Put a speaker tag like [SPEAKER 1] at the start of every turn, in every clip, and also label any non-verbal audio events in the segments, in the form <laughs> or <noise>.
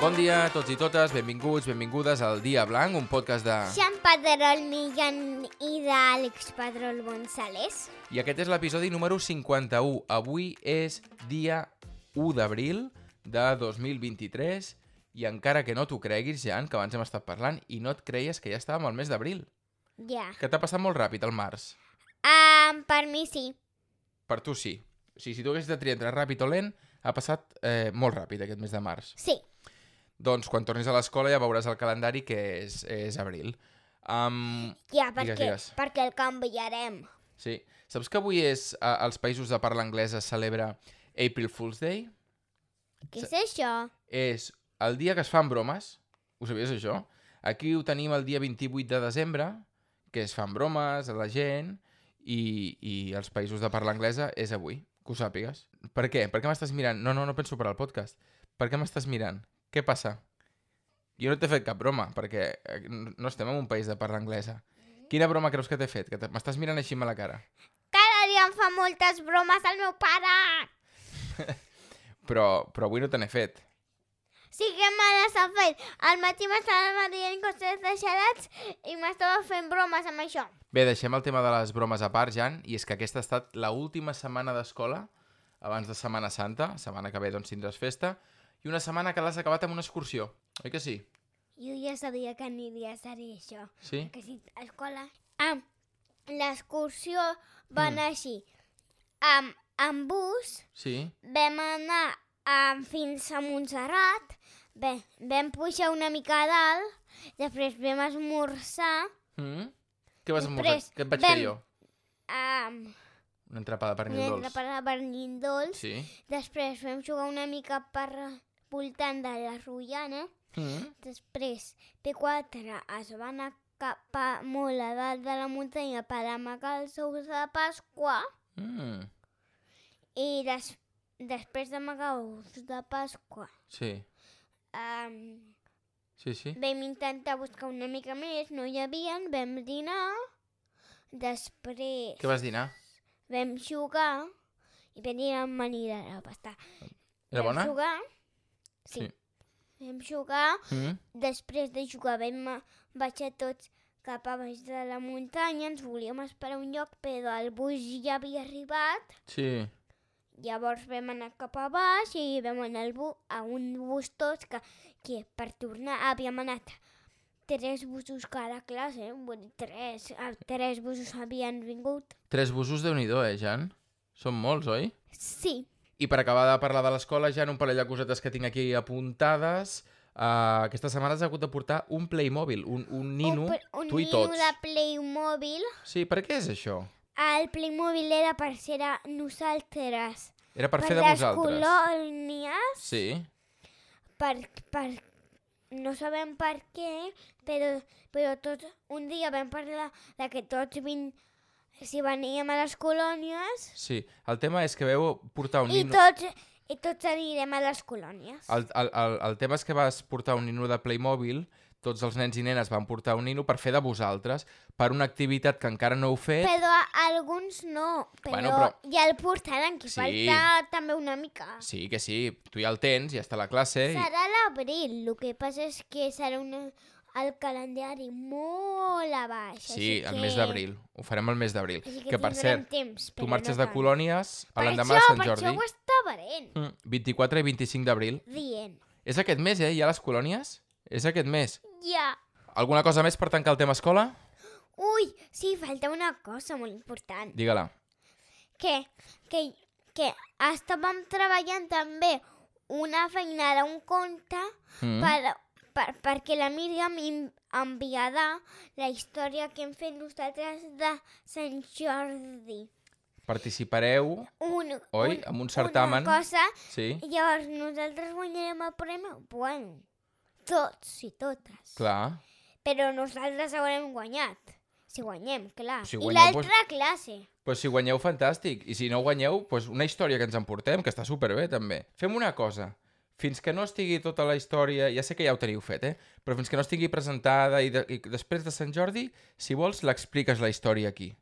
[SPEAKER 1] Bon dia a tots i totes, benvinguts, benvingudes al Dia Blanc, un podcast de...
[SPEAKER 2] Jean Pedrol Millan i d'Àlex Pedrol González.
[SPEAKER 1] I aquest és l'episodi número 51. Avui és dia 1 d'abril de 2023 i encara que no t'ho creguis, Jan, que abans hem estat parlant i no et creies que ja estàvem al mes d'abril.
[SPEAKER 2] Ja.
[SPEAKER 1] Que t'ha passat molt ràpid el març.
[SPEAKER 2] Um, per mi sí.
[SPEAKER 1] Per tu sí. O sigui, si tu haguessis de triar entre ràpid o lent, ha passat eh, molt ràpid aquest mes de març.
[SPEAKER 2] Sí.
[SPEAKER 1] Doncs quan tornis a l'escola ja veuràs el calendari que és, és abril. Um,
[SPEAKER 2] Ja, perquè,
[SPEAKER 1] digues.
[SPEAKER 2] perquè el canviarem.
[SPEAKER 1] sí. Saps que avui és, a, als països de parla anglesa es celebra April Fool's Day?
[SPEAKER 2] Què és això?
[SPEAKER 1] És el dia que es fan bromes. Ho sabies, això? Aquí ho tenim el dia 28 de desembre, que es fan bromes a la gent, i, i els països de parla anglesa és avui, que ho sàpigues. Per què? Per què m'estàs mirant? No, no, no penso per al podcast. Per què m'estàs mirant? Què passa? Jo no t'he fet cap broma, perquè eh, no no estem en un país de parla anglesa. Quina broma creus que t'he fet? Que te- m'estàs mirant així a la cara.
[SPEAKER 2] Cada dia em fa moltes bromes al meu pare.
[SPEAKER 1] Però, però avui no te n'he fet.
[SPEAKER 2] Sí que me les ha fet. Al matí m'estava dient coses deixadats i m'estava fent bromes amb això.
[SPEAKER 1] Bé, deixem el tema de les bromes a part, Jan, i és que aquesta ha estat la última setmana d'escola abans de Setmana Santa, setmana que ve doncs tindràs festa, i una setmana que l'has acabat amb una excursió, oi que sí?
[SPEAKER 2] Jo ja sabia que aniria a ser això.
[SPEAKER 1] Sí?
[SPEAKER 2] que si a escola... Ah, l'excursió va
[SPEAKER 1] Mm.
[SPEAKER 2] anar així. Amb, amb bus
[SPEAKER 1] Sí?
[SPEAKER 2] vam anar um, fins a Montserrat, bé, vam pujar una mica a dalt, després vam esmorzar,
[SPEAKER 1] Mm? Què vas
[SPEAKER 2] Després
[SPEAKER 1] Després, Què et vaig
[SPEAKER 2] vam-
[SPEAKER 1] fer jo?
[SPEAKER 2] um,
[SPEAKER 1] Una entrapada per
[SPEAKER 2] una
[SPEAKER 1] nindols.
[SPEAKER 2] entrapada per Nindols,
[SPEAKER 1] Sí?
[SPEAKER 2] després vam jugar una mica per voltant de la Rullana,
[SPEAKER 1] Mm?
[SPEAKER 2] després P4 es va anar cap a molt a dalt de la muntanya per amagar els ous de Pasqua,
[SPEAKER 1] Mm.
[SPEAKER 2] I des, després d'amagar ous de Pasqua,
[SPEAKER 1] Sí,
[SPEAKER 2] um,
[SPEAKER 1] sí, sí.
[SPEAKER 2] vam intentar buscar una mica més, no hi havia, vam dinar, després
[SPEAKER 1] Què vas dinar?
[SPEAKER 2] vam jugar i vam dinar amb manida de pasta.
[SPEAKER 1] Era
[SPEAKER 2] vam
[SPEAKER 1] bona?
[SPEAKER 2] jugar, sí.
[SPEAKER 1] Sí.
[SPEAKER 2] Vam jugar,
[SPEAKER 1] Mm?
[SPEAKER 2] després de jugar vam eh, a- baixar tots cap a baix de la muntanya, ens volíem esperar a un lloc, però el bus ja havia arribat
[SPEAKER 1] Sí.
[SPEAKER 2] Llavors vam anar cap a baix i vam anar al bu a un bus tots que, que per tornar havíem anat tres busos cada classe, vull dir, tres, eh, tres busos havien vingut.
[SPEAKER 1] Tres busos, de nhi eh, Jan? Són molts, oi?
[SPEAKER 2] Sí,
[SPEAKER 1] I per acabar de parlar de l'escola, ja en un parell de cosetes que tinc aquí apuntades, uh, aquesta setmana has hagut de portar un Playmobil, un, un nino,
[SPEAKER 2] un, pl- un
[SPEAKER 1] tu i
[SPEAKER 2] nino
[SPEAKER 1] tots.
[SPEAKER 2] de Playmobil.
[SPEAKER 1] Sí, per què és això?
[SPEAKER 2] El Playmobil era per ser a nosaltres.
[SPEAKER 1] Era per, fer de
[SPEAKER 2] les
[SPEAKER 1] vosaltres.
[SPEAKER 2] colònies,
[SPEAKER 1] Sí,
[SPEAKER 2] per, per, no sabem per què, però, però tot, un dia vam parlar de que tots vin, si veníem a les colònies
[SPEAKER 1] sí. El tema és que veu portar un
[SPEAKER 2] i
[SPEAKER 1] nino...
[SPEAKER 2] tots, i tots anirem a les colònies.
[SPEAKER 1] El, el, el, el tema és que vas portar un nino de Playmobil, tots els nens i nenes van portar un nino per fer de vosaltres, per una activitat que encara no heu fet,
[SPEAKER 2] Però a, alguns no, però,
[SPEAKER 1] Bueno,
[SPEAKER 2] bueno,
[SPEAKER 1] però-
[SPEAKER 2] però... ja el portaran, que
[SPEAKER 1] Sí.
[SPEAKER 2] sí. falta també una mica. Sí.
[SPEAKER 1] Sí, que sí, tu ja el tens, ja està a la classe... I...
[SPEAKER 2] Serà a l'abril, el que passa és que serà una, el calendari molt a baix.
[SPEAKER 1] Sí,
[SPEAKER 2] així
[SPEAKER 1] el
[SPEAKER 2] que...
[SPEAKER 1] mes d'abril. Ho farem el mes d'abril.
[SPEAKER 2] Així
[SPEAKER 1] que per cert,
[SPEAKER 2] temps,
[SPEAKER 1] Tu
[SPEAKER 2] però
[SPEAKER 1] marxes
[SPEAKER 2] no
[SPEAKER 1] de
[SPEAKER 2] tant.
[SPEAKER 1] colònies a
[SPEAKER 2] Per
[SPEAKER 1] l'endemà de
[SPEAKER 2] això-
[SPEAKER 1] Sant
[SPEAKER 2] Per
[SPEAKER 1] Jordi.
[SPEAKER 2] això ho estava dient,
[SPEAKER 1] Mm, 24 i 25 d'abril.
[SPEAKER 2] dient.
[SPEAKER 1] És aquest mes, eh? Ja les colònies? És aquest mes.
[SPEAKER 2] Ja.
[SPEAKER 1] Alguna cosa més per tancar el tema escola?
[SPEAKER 2] Ui, sí, falta una cosa molt important.
[SPEAKER 1] Digue-la.
[SPEAKER 2] Que, que, que estàvem treballant també una feina d'un conte
[SPEAKER 1] Mm.
[SPEAKER 2] per, per, perquè la Míriam em- enviarà la història que hem fet nosaltres de Sant Jordi.
[SPEAKER 1] Participareu,
[SPEAKER 2] Un,
[SPEAKER 1] oi?
[SPEAKER 2] un,
[SPEAKER 1] En un certamen.
[SPEAKER 2] Una cosa,
[SPEAKER 1] Sí,
[SPEAKER 2] i llavors nosaltres guanyarem el premi, bueno, tots i totes.
[SPEAKER 1] clar.
[SPEAKER 2] Però nosaltres haurem guanyat. Si guanyem, clar.
[SPEAKER 1] Si doncs-
[SPEAKER 2] Si
[SPEAKER 1] guanyeu,
[SPEAKER 2] guanyem, I l'altra classe.
[SPEAKER 1] Pues si guanyeu, fantàstic. I si no guanyeu, pues una història que ens emportem, que està superbé, també. Fem una cosa. Fins que no estigui tota la història... Ja sé que ja ho teniu fet, eh? Però fins que no estigui presentada i, de... i després de Sant Jordi, si vols, l'expliques la història aquí.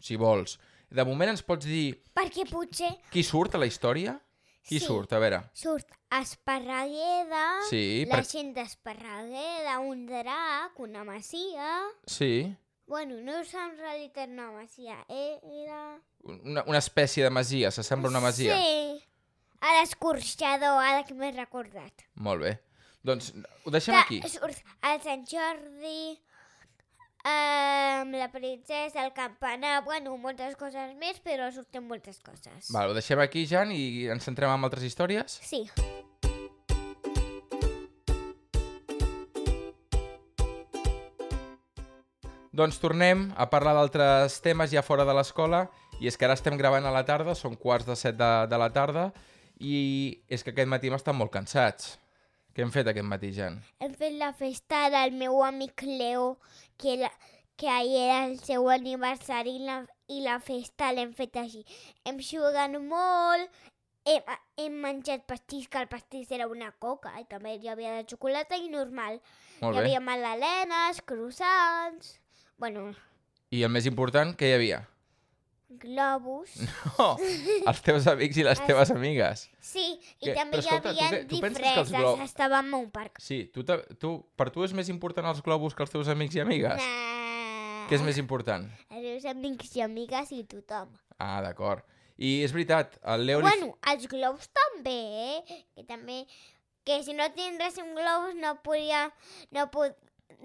[SPEAKER 1] Si vols. De moment ens pots dir
[SPEAKER 2] Perquè potser,
[SPEAKER 1] qui surt a la història? Qui
[SPEAKER 2] Sí.
[SPEAKER 1] surt? A veure.
[SPEAKER 2] Surt Esparreguera,
[SPEAKER 1] Sí,
[SPEAKER 2] la
[SPEAKER 1] per...
[SPEAKER 2] gent d'Esparreguera, un drac, una masia...
[SPEAKER 1] sí.
[SPEAKER 2] Bueno, no sé en realitat una masia, eh, era...
[SPEAKER 1] Una, una espècie de masia, s'assembla a una masia.
[SPEAKER 2] Sí, a l'escorxador, ara que m'he recordat.
[SPEAKER 1] Molt bé. Doncs ho deixem
[SPEAKER 2] Ta-
[SPEAKER 1] aquí.
[SPEAKER 2] Surt el Sant Jordi, eh, la princesa, el campanar, bueno, moltes coses més, però surten moltes coses.
[SPEAKER 1] Val, ho deixem aquí, Jan, i ens centrem en altres històries?
[SPEAKER 2] Sí.
[SPEAKER 1] Doncs tornem a parlar d'altres temes ja fora de l'escola i és que ara estem gravant a la tarda, són quarts de set de, de la tarda i és que aquest matí hem estat molt cansats. Què hem fet aquest matí, Jan?
[SPEAKER 2] Hem fet la festa del meu amic Leo, que, la, que ahir era el seu aniversari i la, i la festa l'hem fet així. Hem jugat molt, hem, hem menjat pastís, que el pastís era una coca, i també hi havia de xocolata i normal.
[SPEAKER 1] Molt
[SPEAKER 2] hi
[SPEAKER 1] bé.
[SPEAKER 2] havia magdalenes, croissants, bueno,
[SPEAKER 1] I el més important, què hi
[SPEAKER 2] <laughs>
[SPEAKER 1] havia? <laughs>
[SPEAKER 2] globus...
[SPEAKER 1] Oh, els teus amics i les
[SPEAKER 2] Ah,
[SPEAKER 1] teves amigues.
[SPEAKER 2] Sí, i
[SPEAKER 1] Que-
[SPEAKER 2] també
[SPEAKER 1] però
[SPEAKER 2] hi
[SPEAKER 1] escolta, tu
[SPEAKER 2] havia
[SPEAKER 1] què- tu penses que els
[SPEAKER 2] disfresses,
[SPEAKER 1] globus-
[SPEAKER 2] estàvem a un parc.
[SPEAKER 1] Sí, tu, te, tu, per tu és més important els globus que els teus amics i amigues?
[SPEAKER 2] Nah.
[SPEAKER 1] Què és més important?
[SPEAKER 2] Els meus amics i amigues i tothom.
[SPEAKER 1] Ah, d'acord. I és veritat, el Leo... li-
[SPEAKER 2] Bueno, els globus també, eh? Que també... Que si no tindràs un globus no podia... No, pod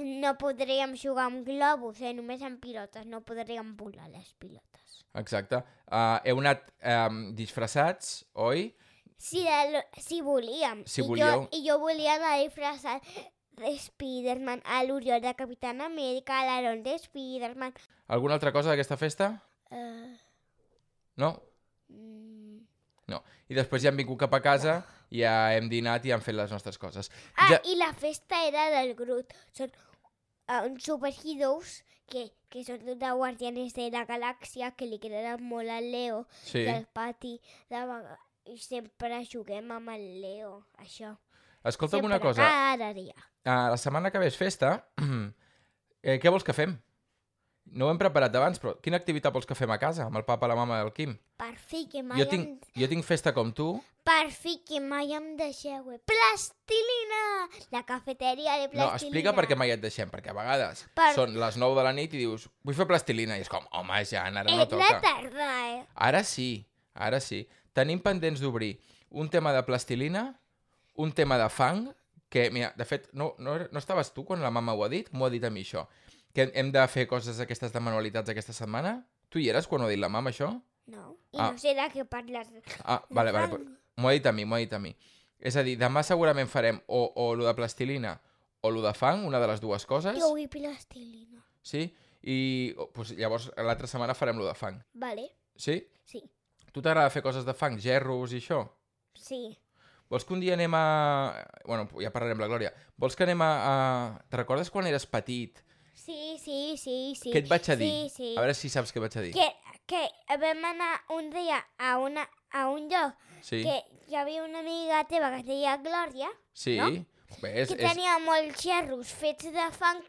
[SPEAKER 2] no podríem jugar amb globus, eh? Només amb pilotes. No podríem volar les pilotes.
[SPEAKER 1] Exacte. Uh, heu anat um, disfressats, oi?
[SPEAKER 2] Si, el, si volíem.
[SPEAKER 1] Si
[SPEAKER 2] I
[SPEAKER 1] volíeu.
[SPEAKER 2] Jo, I jo volia anar disfressat de Spiderman, a l'Oriol de Capitán Amèrica, a l'Aaron de Spiderman...
[SPEAKER 1] Alguna altra cosa d'aquesta festa?
[SPEAKER 2] eh,
[SPEAKER 1] No?
[SPEAKER 2] mm.
[SPEAKER 1] I després ja hem vingut cap a casa, ja hem dinat i hem fet les nostres coses.
[SPEAKER 2] Ah,
[SPEAKER 1] Ja-
[SPEAKER 2] i la festa era del Groot. Són eh, uns superheroes que, que són de guardianes de la galàxia que li agraden molt al Leo
[SPEAKER 1] Sí.
[SPEAKER 2] i al pati. De vega- I sempre juguem amb el Leo, això.
[SPEAKER 1] Escolta alguna
[SPEAKER 2] Sempre,
[SPEAKER 1] cosa.
[SPEAKER 2] Cada dia.
[SPEAKER 1] Uh, la setmana que ve és festa. <clears throat> eh, què vols que fem? No ho hem preparat abans, però quina activitat vols que fem a casa amb el papa, la mama i el Quim?
[SPEAKER 2] Per fi que mai,
[SPEAKER 1] Jo
[SPEAKER 2] em,
[SPEAKER 1] tinc, jo tinc festa com tu.
[SPEAKER 2] per fi que mai em deixeu. eh? Plastilina! La cafeteria de
[SPEAKER 1] No,
[SPEAKER 2] plastilina.
[SPEAKER 1] explica per què mai et deixem, perquè a vegades
[SPEAKER 2] Per-
[SPEAKER 1] són les 9 de la nit i dius vull fer plastilina, i és com, home, ja, ara no
[SPEAKER 2] És
[SPEAKER 1] toca.
[SPEAKER 2] la tarda, eh?
[SPEAKER 1] Ara sí, ara sí. Tenim pendents d'obrir un tema de plastilina, un tema de fang, que, mira, de fet, no, no, era- no estaves tu quan la mama ho ha dit? M'ho ha dit a mi, això. Que hem- hem de fer coses aquestes de manualitats aquesta setmana? Tu hi eres quan ho ha dit la mama, això?
[SPEAKER 2] No. I
[SPEAKER 1] Ah.
[SPEAKER 2] no sé de què parles.
[SPEAKER 1] Ah, vale, vale.
[SPEAKER 2] fang.
[SPEAKER 1] però M'ho ha dit a mi, m'ho ha dit a mi. És a dir, demà segurament farem o, o lo de plastilina o lo de fang, una de les dues coses,
[SPEAKER 2] Jo vull plastilina.
[SPEAKER 1] sí? I oh, pues, llavors l'altra setmana farem lo de fang,
[SPEAKER 2] Vale,
[SPEAKER 1] sí?
[SPEAKER 2] sí.
[SPEAKER 1] Tu t'agrada fer coses de fang, gerros i això?
[SPEAKER 2] Sí.
[SPEAKER 1] Vols que un dia anem a... Bueno, ja parlarem amb la Glòria. Vols que anem a... a... Te recordes quan eres petit?
[SPEAKER 2] Sí, sí, sí, sí.
[SPEAKER 1] Què et vaig a dir?
[SPEAKER 2] Sí, sí.
[SPEAKER 1] A veure si saps què vaig a dir.
[SPEAKER 2] Que, que vam anar un dia a, una, a un lloc
[SPEAKER 1] Sí,
[SPEAKER 2] que hi havia una amiga teva que es deia Glòria,
[SPEAKER 1] sí.
[SPEAKER 2] no?
[SPEAKER 1] Bé, és,
[SPEAKER 2] que
[SPEAKER 1] és...
[SPEAKER 2] tenia molts gerros fets de fang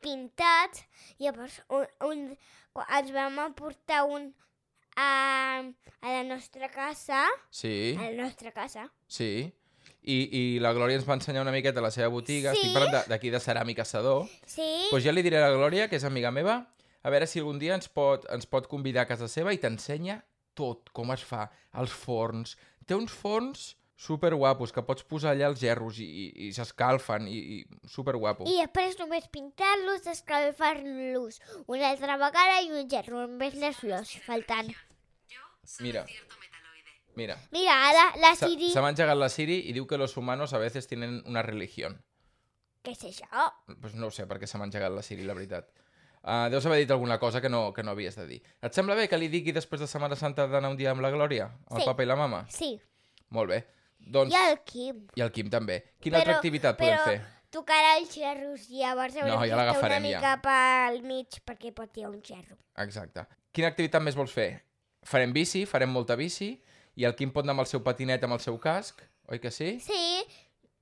[SPEAKER 2] pintats, i llavors un, un, quan ens vam emportar un a, a la nostra casa,
[SPEAKER 1] Sí,
[SPEAKER 2] a la nostra casa,
[SPEAKER 1] sí. I, I la Glòria ens va ensenyar una miqueta la seva botiga.
[SPEAKER 2] Sí.
[SPEAKER 1] Estic parlant de- d'aquí de, Ceràmica Sador.
[SPEAKER 2] sí,
[SPEAKER 1] Doncs pues ja li diré a la Glòria, que és amiga meva, a veure si algun dia ens pot, ens pot convidar a casa seva i t'ensenya tot, com es fa, els forns. Té uns forns superguapos que pots posar allà els gerros i, i, i s'escalfen i, i superguapo.
[SPEAKER 2] I després només pintar-los, escalfar-los una altra vegada i un gerro, només les flors faltant.
[SPEAKER 1] Mira. Mira.
[SPEAKER 2] Mira, ara la
[SPEAKER 1] Se
[SPEAKER 2] Siri...
[SPEAKER 1] se m'ha engegat la Siri i diu que los humanos a veces tienen una religión.
[SPEAKER 2] Què és això?
[SPEAKER 1] Pues no ho sé per què se m'ha engegat la Siri, la veritat. Uh, deus haver dit alguna cosa que no, que no havies de dir. Et sembla bé que li digui després de Setmana Santa d'anar un dia amb la Glòria? El
[SPEAKER 2] Sí.
[SPEAKER 1] papa i la mama?
[SPEAKER 2] Sí,
[SPEAKER 1] Molt bé. Doncs...
[SPEAKER 2] i el Quim.
[SPEAKER 1] I el Quim també. Quina altra activitat podem
[SPEAKER 2] però
[SPEAKER 1] fer?
[SPEAKER 2] tocarà els gerros i llavors haurem
[SPEAKER 1] ja
[SPEAKER 2] d'estar una
[SPEAKER 1] l'agafarem, ja.
[SPEAKER 2] mica pel mig perquè pot hi ha un gerro.
[SPEAKER 1] Exacte. Quina activitat més vols fer? Farem bici, farem molta bici, i el Quim pot anar amb el seu patinet amb el seu casc, oi que sí?
[SPEAKER 2] Sí,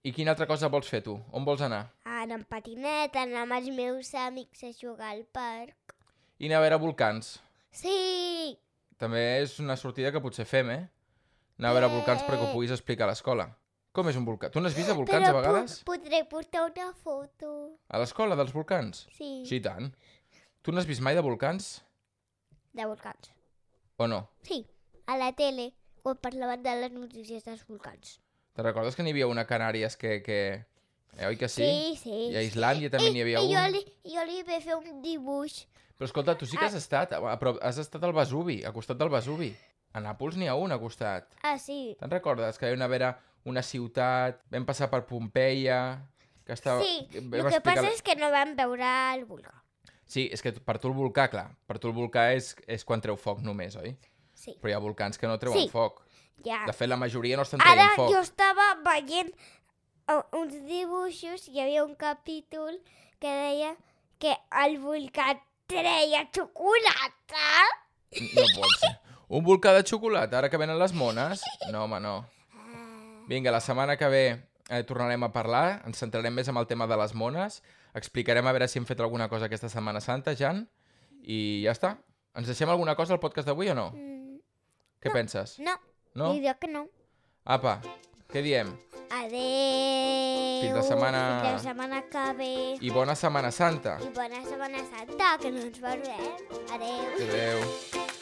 [SPEAKER 1] I quina altra cosa vols fer tu? On vols anar?
[SPEAKER 2] anar amb patinet, anar amb els meus amics a jugar al parc.
[SPEAKER 1] I anar a veure volcans.
[SPEAKER 2] Sí,
[SPEAKER 1] També és una sortida que potser fem, eh? anar a veure volcans perquè ho puguis explicar a l'escola. Com és un volcà? Tu n'has vist de volcans
[SPEAKER 2] Però
[SPEAKER 1] a vegades?
[SPEAKER 2] pu- podré portar una foto.
[SPEAKER 1] A l'escola dels volcans?
[SPEAKER 2] Sí,
[SPEAKER 1] Sí, i tant. Tu n'has vist mai de volcans
[SPEAKER 2] de volcans.
[SPEAKER 1] o no?
[SPEAKER 2] Sí, a la tele, quan parlaven de les notícies dels volcans.
[SPEAKER 1] Te recordes que n'hi havia una a Canàries que... que... Eh, oi que sí?
[SPEAKER 2] sí. sí.
[SPEAKER 1] I a Islàndia també n'hi havia
[SPEAKER 2] I jo
[SPEAKER 1] un.
[SPEAKER 2] li, jo li vaig fer un dibuix.
[SPEAKER 1] Però escolta, tu sí que has
[SPEAKER 2] Ah.
[SPEAKER 1] estat, a a prop, has estat al Vesuvi, a costat del Vesuvi. A Nàpols n'hi ha un a costat.
[SPEAKER 2] Ah, sí.
[SPEAKER 1] Te'n recordes? Que hi va haver una ciutat, vam passar per Pompeia, que estava...
[SPEAKER 2] Sí,
[SPEAKER 1] vam
[SPEAKER 2] el que
[SPEAKER 1] explicar-
[SPEAKER 2] passa és que no vam veure el volcà.
[SPEAKER 1] Sí, és que per tu el volcà, clar, per tu el volcà és, és quan treu foc només, oi?
[SPEAKER 2] Sí,
[SPEAKER 1] Però hi ha volcans que no treuen
[SPEAKER 2] Sí.
[SPEAKER 1] foc.
[SPEAKER 2] ja.
[SPEAKER 1] De fet, la majoria no estan
[SPEAKER 2] Ara
[SPEAKER 1] traient foc.
[SPEAKER 2] jo estava veient eh, uns dibuixos, hi havia un capítol que deia que el volcà treia xocolata.
[SPEAKER 1] No pot ser. Un volcà de xocolata, ara que venen les mones? No, home, no.
[SPEAKER 2] Ah,
[SPEAKER 1] Vinga, la setmana que ve eh, tornarem a parlar, ens centrarem més en el tema de les mones, explicarem a veure si hem fet alguna cosa aquesta Setmana Santa, Jan, i ja està. Ens deixem alguna cosa al podcast d'avui o no?
[SPEAKER 2] mm,
[SPEAKER 1] Què penses?
[SPEAKER 2] no,
[SPEAKER 1] No?
[SPEAKER 2] diria que no.
[SPEAKER 1] Apa, què diem?
[SPEAKER 2] Adeu.
[SPEAKER 1] Fins la setmana-
[SPEAKER 2] Fins la setmana que ve. I,
[SPEAKER 1] I bona Setmana Santa.
[SPEAKER 2] I bona setmana santa, que no ens veurem. Adeu.
[SPEAKER 1] Adéu.